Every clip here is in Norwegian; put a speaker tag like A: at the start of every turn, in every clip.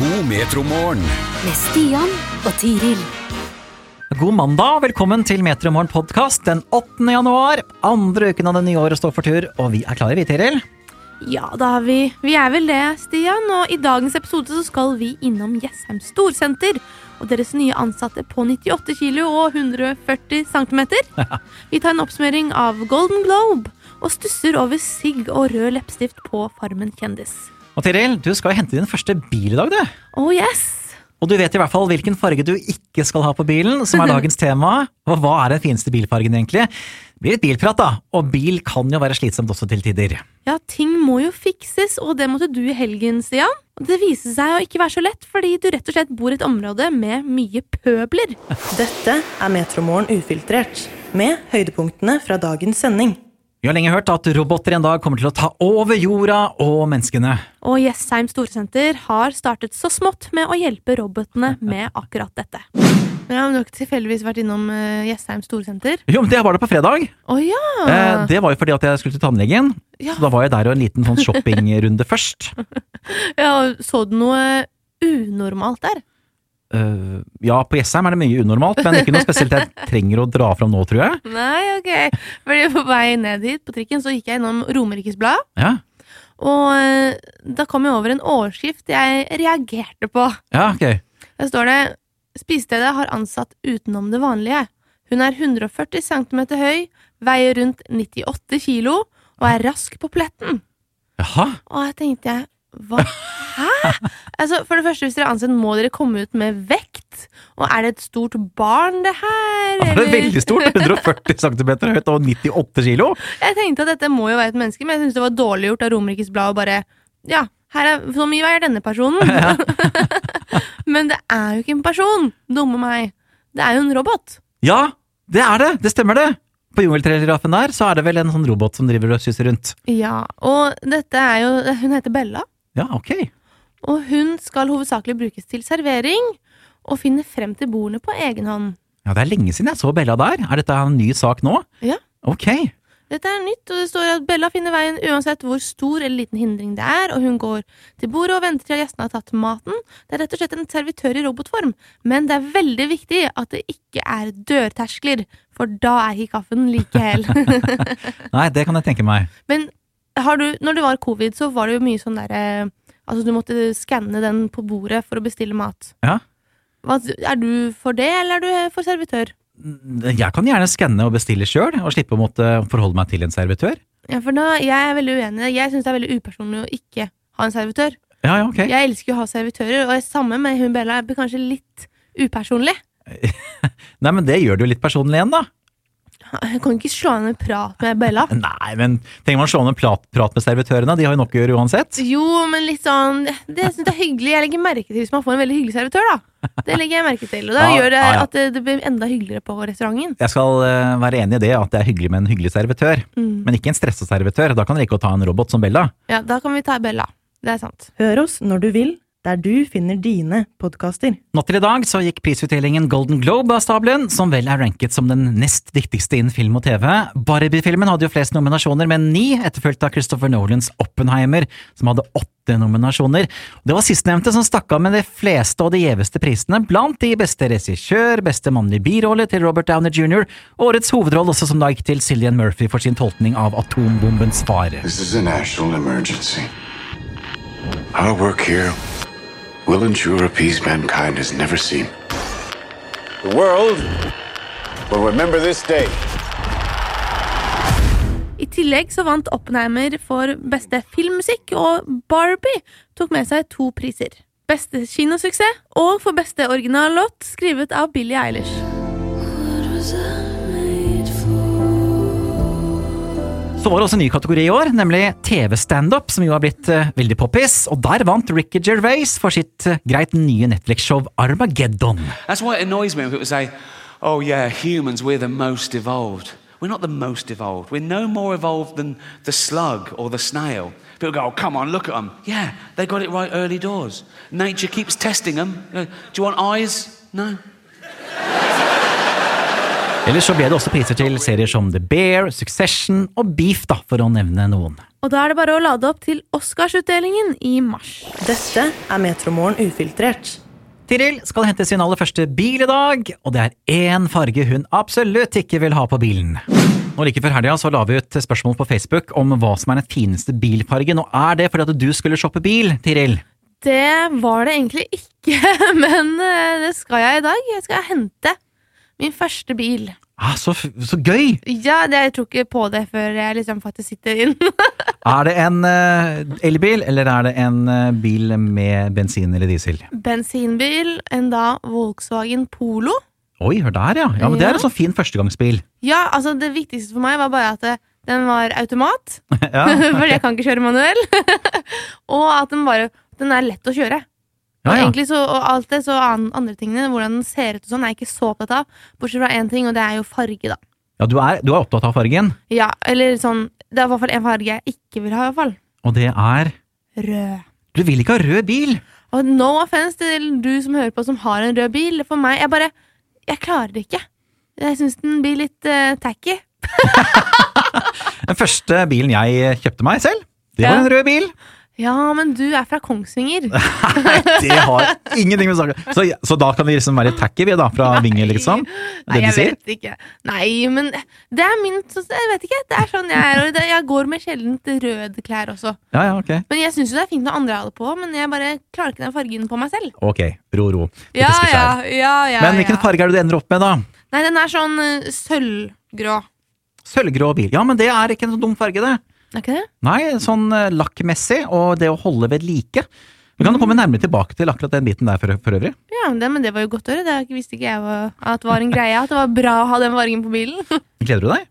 A: God metromorgen.
B: med Stian og Tiril.
C: God mandag, og velkommen til Metromorgen podkast den 8. januar. Andre uken av det nye året står for tur, og vi er klare, vi, Tiril.
D: Ja, da er vi Vi er vel det, Stian. Og i dagens episode så skal vi innom Jessheim Storsenter og deres nye ansatte på 98 kg og 140 cm. Vi tar en oppsummering av Golden Globe og stusser over sigg og rød leppestift på Farmen kjendis.
C: Og Tiril, du skal jo hente din første bil i dag, du.
D: Oh yes!
C: Og du vet i hvert fall hvilken farge du ikke skal ha på bilen, som er dagens tema. Og hva er den fineste bilfargen, egentlig? Det blir litt bilprat, da. Og bil kan jo være slitsomt også til tider.
D: Ja, ting må jo fikses, og det måtte du i helgen, Stian. Og det viste seg å ikke være så lett, fordi du rett og slett bor i et område med mye pøbler.
E: Dette er Metromorgen ufiltrert, med høydepunktene fra dagens sending.
C: Vi har lenge hørt at roboter en dag kommer til å ta over jorda og menneskene.
D: Og Jessheim Storsenter har startet så smått med å hjelpe robotene med akkurat dette. Ja, men Du har ikke tilfeldigvis vært innom uh, Jessheim Storsenter?
C: Jo, men det var det på fredag.
D: Å ja!
C: Eh, det var jo fordi at jeg skulle til tannlegen.
D: Ah. Ja.
C: Så da var jeg der og en liten sånn shoppingrunde først.
D: ja! Så du noe unormalt der?
C: Eh, ja, på Jessheim er det mye unormalt, men ikke noe spesielt jeg trenger å dra fram nå, tror jeg.
D: Nei, ok. Fordi På vei ned hit på trikken så gikk jeg innom Romerikes Blad,
C: Ja,
D: og eh, da kom jeg over en overskrift jeg reagerte på.
C: ja ok.
D: Der står det Spisestedet har ansatt utenom det vanlige. Hun er 140 cm høy, veier rundt 98 kg og er rask på pletten.
C: Jaha.
D: Og her tenkte jeg hva? Hæ? Altså, for det første, hvis dere er ansatt, må dere komme ut med vekt. Og er det et stort barn, det her?
C: Det er
D: eller?
C: veldig stort. 140 cm høyt og 98 kilo.
D: Jeg tenkte at dette må jo være et menneske, men jeg syns det var dårlig gjort av Romerikes Blad å bare Ja, her er, så mye veier denne personen. men det er jo ikke en person, dumme meg. Det er jo en robot.
C: Ja, det er det! Det stemmer, det! På jungeltelegrafen der så er det vel en sånn robot som driver og suser rundt.
D: Ja, og dette er jo Hun heter Bella,
C: Ja, ok.
D: og hun skal hovedsakelig brukes til servering og finne frem til bordene på egen hånd.
C: Ja, Det er lenge siden jeg så Bella der. Er dette en ny sak nå?
D: Ja.
C: Ok.
D: Dette er nytt, og det står at Bella finner veien uansett hvor stor eller liten hindring det er, og hun går til bordet og venter til gjestene har tatt maten. Det er rett og slett en servitør i robotform, men det er veldig viktig at det ikke er dørterskler, for da er ikke kaffen like hel.
C: Nei, det kan jeg tenke meg.
D: men har du, når det var covid, så var det jo mye sånn derre Altså, du måtte skanne den på bordet for å bestille mat.
C: Ja.
D: Hva, er du for det, eller er du for servitør?
C: Jeg kan gjerne skanne og bestille sjøl, og slippe å måtte forholde meg til en servitør.
D: Ja, for da, jeg er veldig uenig. Jeg syns det er veldig upersonlig å ikke ha en servitør.
C: Ja, ja, ok.
D: Jeg elsker jo å ha servitører, og jeg er sammen med hun Bella jeg blir kanskje litt upersonlig.
C: Nei, men det gjør det jo litt personlig igjen, da.
D: Jeg kan ikke slå an en prat med Bella.
C: Nei, men trenger man å slå an en plat, prat med servitørene? De har jo nok å gjøre uansett.
D: Jo, men litt sånn Det synes jeg er hyggelig. Jeg legger merke til hvis man får en veldig hyggelig servitør, da. Det legger jeg merke til. Og da
C: Ja,
D: gjør det
C: ja, ja.
D: at det, det blir enda hyggeligere på restauranten.
C: Jeg skal eh, være enig i det at det er hyggelig med en hyggelig servitør,
D: Mm.
C: men ikke en stressa servitør. Da kan dere ikke ta en robot som Bella.
D: Ja, da kan vi ta Bella. Det er sant.
E: Hør oss når du vil, der du finner dine podkaster.
C: Natt til i dag så gikk prisutdelingen Golden Globe av stabelen, som vel er ranket som den nest viktigste innen film og TV. Barbie-filmen hadde jo flest nominasjoner, med ni, etterfulgt av Christopher Nolans Oppenheimer, som hadde åtte nominasjoner. Det var sistnevnte som stakk av med de fleste og de gjeveste prisene, blant de beste regissør, beste mannlige birolle til Robert Downey jr., og årets hovedrolle også som da gikk til Cillian Murphy for sin tolkning av atombombens fare.
F: This is a national emergency. Our work here will ensure a peace mankind has never seen. The world will remember this day.
D: I tillegg så vant Oppenheimer for beste filmmusikk, og Barbie tok med seg to priser. Beste kinosuksess og for beste originallåt, skrevet av Billie Eilish.
C: Så var det også en ny kategori i år, nemlig TV-standup, som jo har blitt eh, veldig poppis. Og der vant Ricky Gervais for sitt eh, greit nye Netflix-show Armageddon.
G: That's why it annoys me when people say, oh, yeah, humans, we're the most evolved. We're not the most evolved. We're no more evolved than the slug or the snail. People go, oh, come on, look at them. Yeah, they got it right early doors. Nature keeps Uh, testing them. Do you want eyes? No.
C: Ellers så ble det også priser til serier som The Bear, Succession og Beef, da, for å nevne noen.
D: Og da er det bare å lade opp til Oscarsutdelingen i mars.
E: Dette er Metromorgen ufiltrert.
C: Tiril skal hente sin aller første bil i dag, og det er én farge hun absolutt ikke vil ha på bilen. Nå Like før helga så la vi ut spørsmål på Facebook om hva som er den fineste bilfargen, og er det fordi at du skulle shoppe bil, Tiril?
D: Det var det egentlig ikke, men eh, det skal jeg i dag. Jeg skal hente min første bil.
C: Ah, så, f- så gøy!
D: Ja, det, jeg tror ikke på det før jeg liksom faktisk sitter inn.
C: Er det en eh, elbil, eller er det en eh, bil med bensin eller diesel?
D: Bensinbil, en da Volkswagen Polo.
C: Oi, hør der, ja. ja men det er en sånn fin førstegangsbil.
D: Ja, altså det viktigste for meg var bare at eh, den var automat,
C: Ja,
D: for jeg kan ikke kjøre manuell. og at den bare den er lett å kjøre.
C: ja,
D: Og
C: ja.
D: Egentlig så, og alt det, så an, andre tingene, hvordan den ser ut og sånn, er jeg ikke så opptatt av. Bortsett fra én ting, og det er jo farge, da.
C: ja du, er, du er opptatt av fargen,
D: Ja, eller sånn Det er i hvert fall en farge jeg ikke vil ha, i hvert fall.
C: og det er
D: Rød.
C: Du vil ikke ha rød bil!
D: Og no offense til du som hører på som har en rød bil. For meg, jeg bare Jeg klarer det ikke. Jeg syns den blir litt eh, tacky.
C: Den første bilen jeg eh, kjøpte meg selv, det
D: Ja.
C: var en rød bil.
D: Ja, men du er fra Kongsvinger.
C: Nei, det har ingenting med saken så, så da kan vi liksom være tacky, vi, da, fra Vinge, liksom? Det
D: Nei,
C: de
D: jeg
C: sier?
D: vet ikke. Nei, men det er min så- Jeg vet ikke. Det er sånn jeg er. Og det- jeg går med sjelden røde klær også.
C: Ja, ja, ok.
D: Men jeg syns jo det er fint når andre har det på, men jeg bare klarer ikke den fargen på meg selv.
C: Ok, ro, ro. Dette
D: Ja,
C: skal
D: ja,
C: jeg.
D: ja, ja,
C: Men hvilken
D: ja.
C: farge er det du ender opp med, da?
D: Nei, den er sånn eh, sølvgrå.
C: Sølvgrå bil. Ja, men det er ikke en så dum farge, det.
D: Er ikke det?
C: Nei, sånn eh, lakkmessig, og det å holde ved like. Vi kan komme nærmere tilbake til akkurat den biten der for, for øvrig.
D: Ja, det, men det var jo godt å høre. Det visste ikke jeg var, at var en greie. At det var bra å ha den fargen på bilen.
C: Gleder du deg?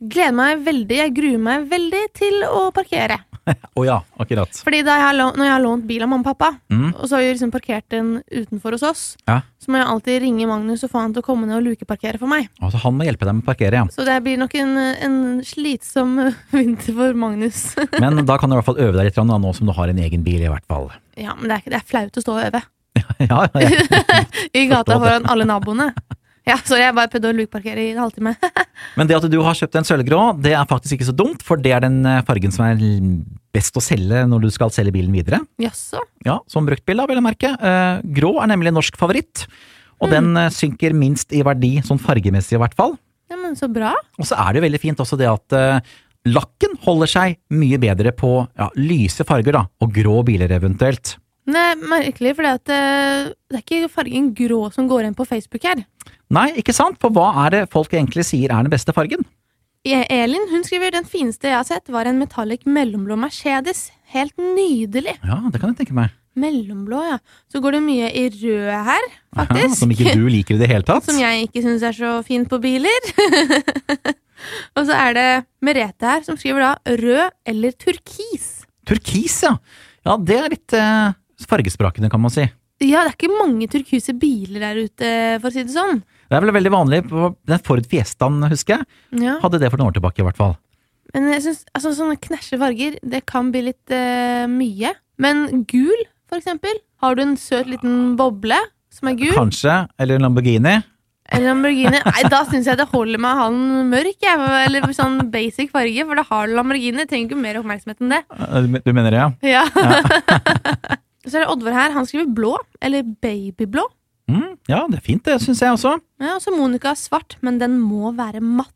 D: Gleder meg veldig. Jeg gruer meg veldig til å parkere.
C: Å ja, akkurat.
D: Fordi da jeg har lånt, når jeg har lånt bil av mamma og pappa,
C: Mm.
D: og så har vi liksom parkert den utenfor hos oss,
C: Ja.
D: så må jeg alltid ringe Magnus og få han til å komme ned og lukeparkere for meg.
C: Altså, han må hjelpe deg med å parkere, ja.
D: Så det blir nok en, en slitsom vinter for Magnus.
C: Men da kan du i hvert fall øve deg litt grann, da, nå som du har en egen bil, i hvert fall.
D: ja, men det er, ikke, det er flaut å stå og øve
C: Ja, ja, ja.
D: i
C: Forstå
D: gata
C: det.
D: foran alle naboene. Ja, så jeg bare prøvde å lukeparkere i en halvtime.
C: Men det at du har kjøpt en sølvgrå, det er faktisk ikke så dumt, for det er den eh, fargen som er l- best å selge når du skal selge bilen videre.
D: Jaså.
C: Ja, som bruktbil, da, vil jeg merke. Eh, Grå er nemlig en norsk favoritt, og den eh, synker minst i verdi, sånn fargemessig i hvert fall.
D: Ja, men så bra.
C: Og så er det jo veldig fint også det at eh, lakken holder seg mye bedre på ja, lyse farger, da, og grå biler eventuelt.
D: Men Det er merkelig, for det er ikke fargen grå som går igjen på Facebook her.
C: Nei, ikke sant? For hva er det folk egentlig sier er den beste fargen?
D: E- Elin hun skriver den fineste jeg har sett, var en metallic mellomblå Mercedes. Helt nydelig.
C: Ja, det kan jeg tenke meg.
D: Mellomblå, ja. Så går det mye i rød her,
C: Ja,
D: faktisk.
C: som ikke du liker i det hele tatt.
D: Som jeg ikke syns er så fint på biler. Og så er det Merete her, som skriver da rød eller turkis.
C: Turkis, ja. Ja, det er litt eh, fargesprakende, kan man si.
D: Ja, det er ikke mange turkise biler der ute, for å si det sånn.
C: Det er vel veldig vanlig på den Ford Fiestaen, husker jeg.
D: Ja.
C: Hadde det for noen år tilbake, i hvert fall.
D: Men jeg synes, altså, sånne knæsje farger, det kan bli litt eh, mye. Men gul, for eksempel. Har du en søt liten boble som er gul,
C: Kanskje. Eller en Lamborghini.
D: eller Lamborghini Nei, da syns jeg det holder med å ha den mørk, jeg, eller sånn basic farge, for da har du Lamborghini. Trenger ikke mer oppmerksomhet enn det.
C: Eh, Du mener det, ja?
D: Ja. Så er det Oddvar her. Han skriver blå, eller babyblå.
C: Mm, ja, det er fint, det syns jeg også.
D: Ja, og så Monica har svart, men den må være matt.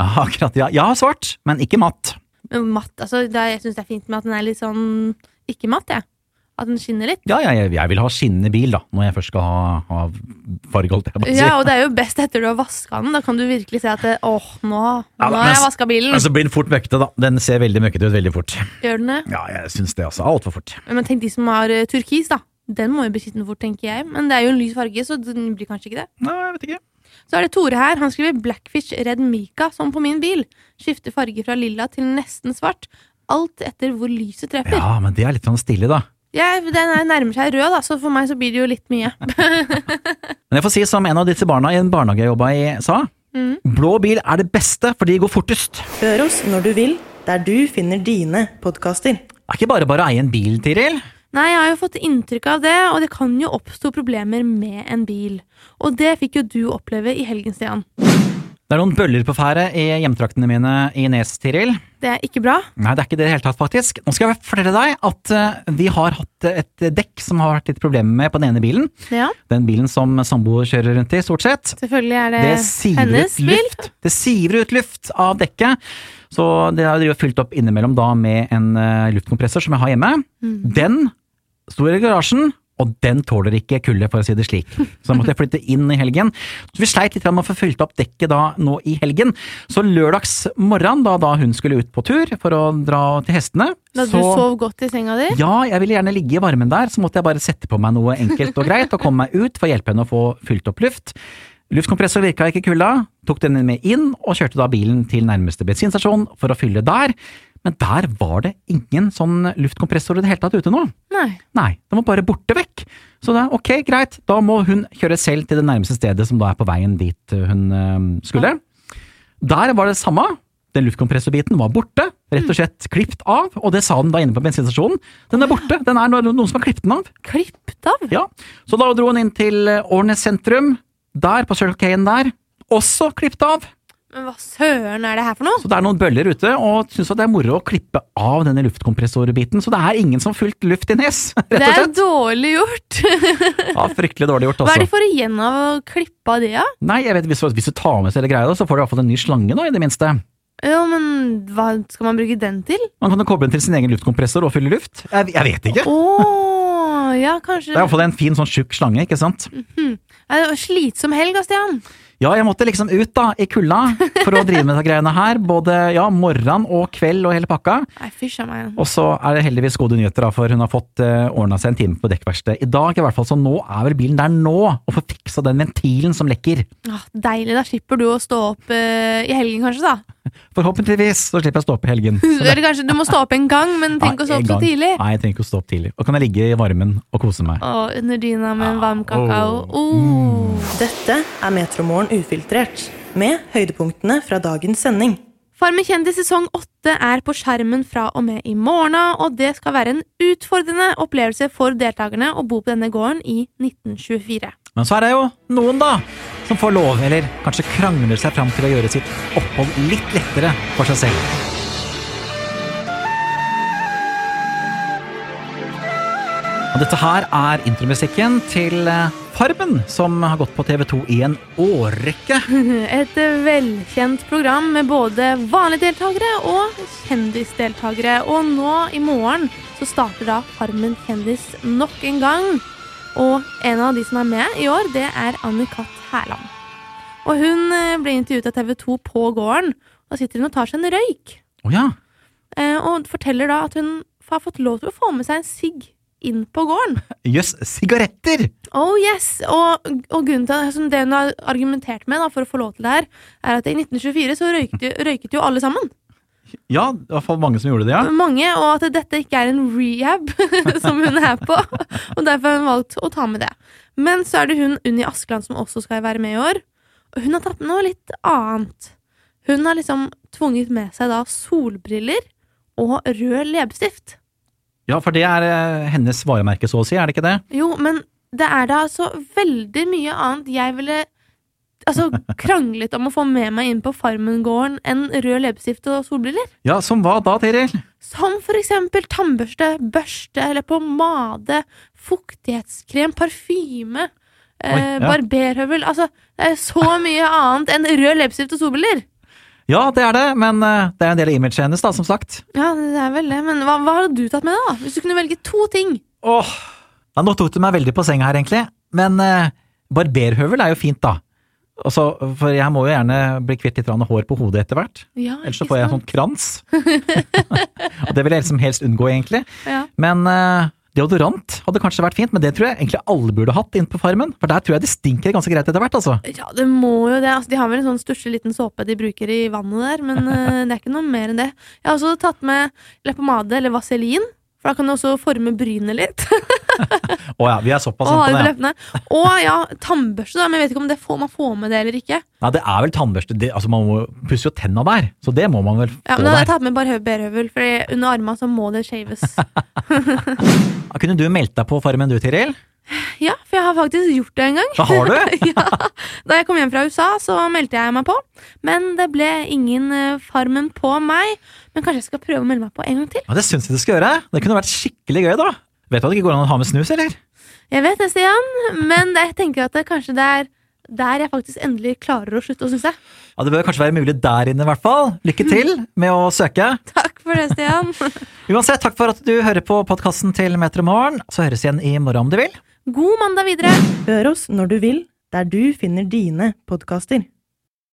C: Ja, akkurat. Ja, ja svart, men ikke matt.
D: Men matt, altså, det, er- Jeg syns det er fint med at den er litt sånn ikke matt, jeg. At den skinner litt.
C: Ja, ja, jeg, jeg vil ha skinnende bil, da, når jeg først skal ha, ha farge, holdt jeg på å si.
D: Ja, og det er jo best etter du har vaska den. Da kan du virkelig si at det, åh, nå,
C: Ja, men-
D: nå
C: altså-
D: har jeg vaska bilen.
C: Men så blir den fort møkkete, da. Den ser veldig møkkete ut veldig fort.
D: Gjør den det?
C: Ja, jeg syns det, altså. Altfor fort.
D: Men tenk de som har eh, turkis, da. Den må jo bli skitten fort, tenker jeg. Men det er jo en lys farge, så den blir kanskje ikke det.
C: Nei, jeg vet ikke.
D: Så er det Tore her. Han skriver Blackfish Red Mica, som på min bil. Skifter farge fra lilla til nesten svart. Alt etter hvor lyset treffer.
C: Ja, men det er litt sånn stille, da.
D: Ja, den er nærmer seg rød, da, så for meg så blir det jo litt mye.
C: Men jeg får si som en av disse barna i en barnehage jeg jobba i sa.
D: Mm.
C: Blå bil er det beste, for de går fortest. Det
E: Hør oss når du vil, der du finner dine podkaster.
C: er ikke bare bare å eie en bil, Tiril.
D: Nei, jeg har jo fått inntrykk av det, og det kan jo oppstå problemer med en bil. Og det fikk jo du oppleve i helgen, Stian.
C: Det er noen bøller på ferde i hjemtraktene mine i Nes, Tiril.
D: Det er ikke bra.
C: Nei, det er ikke det i det hele tatt, faktisk. Nå skal jeg fortelle deg at eh, vi har hatt et dekk som har vært litt problemer med på den ene bilen.
D: Ja,
C: Den bilen som samboer kjører rundt i, stort sett.
D: selvfølgelig er det,
C: Det siver
D: Eh, hennes
C: ut
D: bil.
C: luft. Det siver ut luft av dekket. Så det er jo fylt opp innimellom da med en eh, luftkompressor som jeg har hjemme.
D: Mm.
C: Den sto i garasjen, og den tåler ikke kulde, for å si det slik. Så da måtte jeg flytte inn i helgen. Så vi sleit litt med å få fylt opp dekket da nå i helgen. Så lørdags morgen, da, da hun skulle ut på tur for å dra til hestene
D: Da du sov godt i senga di.
C: ja, jeg ville gjerne ligge i varmen der, så måtte jeg bare sette på meg noe enkelt og greit og komme meg ut for å hjelpe henne å få fylt opp luft. Luftkompressor virka ikke i kulda, tok den med inn og kjørte da bilen til nærmeste bensinstasjon for å fylle der, men der var det ingen sånn luftkompressor i det hele tatt ute nå.
D: Nei.
C: Nei, den var bare borte vekk. Så da, ok, greit, da må hun kjøre selv til det nærmeste stedet som da er på veien dit eh, hun eh, skulle. Der var det samme. Den luftkompressorbiten var borte, rett og slett klippet av, og det sa den da inne på bensinstasjonen. Den er borte, den er no- noen som har klippet den av.
D: Klippet av?
C: Ja. Så da dro hun inn til eh, Årnes sentrum, der på Circle K-en der, også klippet av.
D: Men hva søren er det her for noe?
C: Så det er noen bøller ute, og syns at det er moro å klippe av denne luftkompressorbiten, så det er ingen som har fulgt luft i nes,
D: Det
C: rett og
D: er
C: slett.
D: dårlig gjort.
C: Ja, fryktelig dårlig gjort, altså.
D: Hva er det for igjen av å klippe av det, da?
C: Nei, jeg vet, hvis, hvis du tar med seg hele greia, da, så får du i hvert fall en ny slange, da, i det minste.
D: Jo, men hva skal man bruke den til?
C: Man kan jo koble den til sin egen luftkompressor og fylle luft. Jeg, jeg vet ikke.
D: Å, ja, kanskje
C: Det er iallfall en fin, sånn tjukk slange, ikke sant.
D: Er det Slitsom helg, da, Stian.
C: Ja, jeg måtte liksom ut, da, i kulda, for å drive med disse greiene her. Både ja, morgen og kveld og hele pakka.
D: Nei, fysj a meg.
C: Og så er det heldigvis gode nyheter, da, for hun har fått uh, ordna seg en time på dekkverkstedet i dag. i hvert fall, Så nå er vel bilen der nå, og får fiksa den ventilen som lekker.
D: Ah, deilig, da slipper du å stå opp eh, i helgen, kanskje, da.
C: Forhåpentligvis så slipper jeg å stå opp i helgen.
D: Eller kanskje du må stå opp en gang, men tenk å
C: Ja,
D: stå
C: en
D: opp så
C: gang.
D: tidlig.
C: Nei, jeg trenger ikke å stå opp tidlig. Og kan jeg ligge i varmen og kose meg.
D: Å, under dyna med en varm kakao.
C: åh.
D: Oh.
E: Dette er Metromorgen ufiltrert, med høydepunktene fra dagens sending.
D: Farm med kjendis sesong åtte er på skjermen fra og med i morgen av, og det skal være en utfordrende opplevelse for deltakerne å bo på denne gården i 1924.
C: Men så er det jo noen, da, som får lov, eller kanskje krangler seg fram til å gjøre sitt opphold litt lettere for seg selv. Og dette her er intromusikken til eh, Farmen, som har gått på TV2 i en årrekke.
D: Et velkjent program med både vanlige deltakere og kjendisdeltakere. Og nå i morgen så starter da Farmen kjendis nok en gang. Og en av de som er med i år, det er Anne-Kat. Hærland. Og hun eh, ble intervjuet av TV 2 på gården, og sitter hun og tar seg en røyk.
C: Å ja.
D: eh, og forteller da at hun har fått lov til å få med seg en sigg inn på gården.
C: Jøss, sigaretter!
D: Oh yes! Og, og grunnen til at- som det hun har argumentert med da, for å få lov til det her, er at i 1924 så røykte, røyket jo alle sammen.
C: Ja, i hvert fall mange som gjorde det, ja.
D: Mange, og at dette ikke er en rehab som hun er på. Og derfor har hun valgt å ta med det. Men så er det hun Unni Askeland som også skal være med i år. Og hun har tatt med noe litt annet. Hun har liksom tvunget med seg da solbriller og rød leppestift.
C: Ja, for det er eh, hennes varemerke, så å si, er det ikke det?
D: Jo, men det er da altså veldig mye annet jeg ville altså, kranglet om å få med meg inn på Farmen-gården enn rød leppestift og solbriller.
C: Ja, som hva da, Tiril?
D: Som for eksempel tannbørste, børste eller pomade, fuktighetskrem, parfyme, eh,
C: Oi, ja.
D: barberhøvel Altså, det er så mye annet enn rød leppestift og solbriller.
C: Ja, det er det, men eh, det er en del av imaget hennes, da, som sagt.
D: Ja, det er vel det, men hva, hva har du tatt med deg, da? Hvis du kunne velge to ting.
C: Åh, ja, nå tok du meg veldig på senga her egentlig, men eh, barberhøvel er jo fint da. Altså, for jeg må jo gjerne bli kvitt litt grann hår på hodet etter hvert,
D: Ja,
C: ellers
D: ikke
C: så får jeg en
D: sant?
C: sånn krans. Og det vil jeg liksom helst unngå egentlig.
D: Ja.
C: Men eh, deodorant hadde kanskje vært fint, men det tror jeg egentlig alle burde hatt inn på farmen, for der tror jeg det stinker ganske greit etter hvert, altså.
D: Ja, det må jo det. Altså, de har vel en sånn stusslig liten såpe de bruker i vannet der, men eh, det er ikke noe mer enn det. Jeg har også tatt med leppepomade eller vaselin, for da kan du også forme brynet litt.
C: Åja, vi er såpass
D: og ha
C: inne
D: det
C: på
D: på
C: det.
D: leppene. Og ja, tannbørste, da, men jeg vet ikke om det får, man får med det eller ikke.
C: Ja, det er vel tannbørste, det, altså man må pusse jo tenna der, så det må man vel få
D: Ja, men da har jeg
C: der.
D: tatt med bare hø- berhøvel, for under armene så må det shaves.
C: Kunne du meldt deg på farmen du, Tiril?
D: Ja, for jeg har faktisk gjort det en gang.
C: Da har du?
D: ja. Da jeg kom hjem fra USA, så meldte jeg meg på. Men det ble ingen eh, Farmen på meg. Men kanskje jeg skal prøve å melde meg på en gang til?
C: Ja, det syns jeg du skal gjøre. Det kunne vært skikkelig gøy, da. Vet du at det ikke går an å ha med snus, eller?
D: Jeg vet det, Stian, men jeg tenker at det kanskje det er der jeg faktisk endelig klarer å slutte å snuse.
C: Ja, Det bør kanskje være mulig der inne, i hvert fall. Lykke til med å søke.
D: Takk for det, Stian.
C: Uansett, takk for at du hører på podkasten til Metro Morgen. Så høres igjen i morgen om du vil.
D: God mandag videre.
E: Hør oss når du vil, der du finner dine podkaster.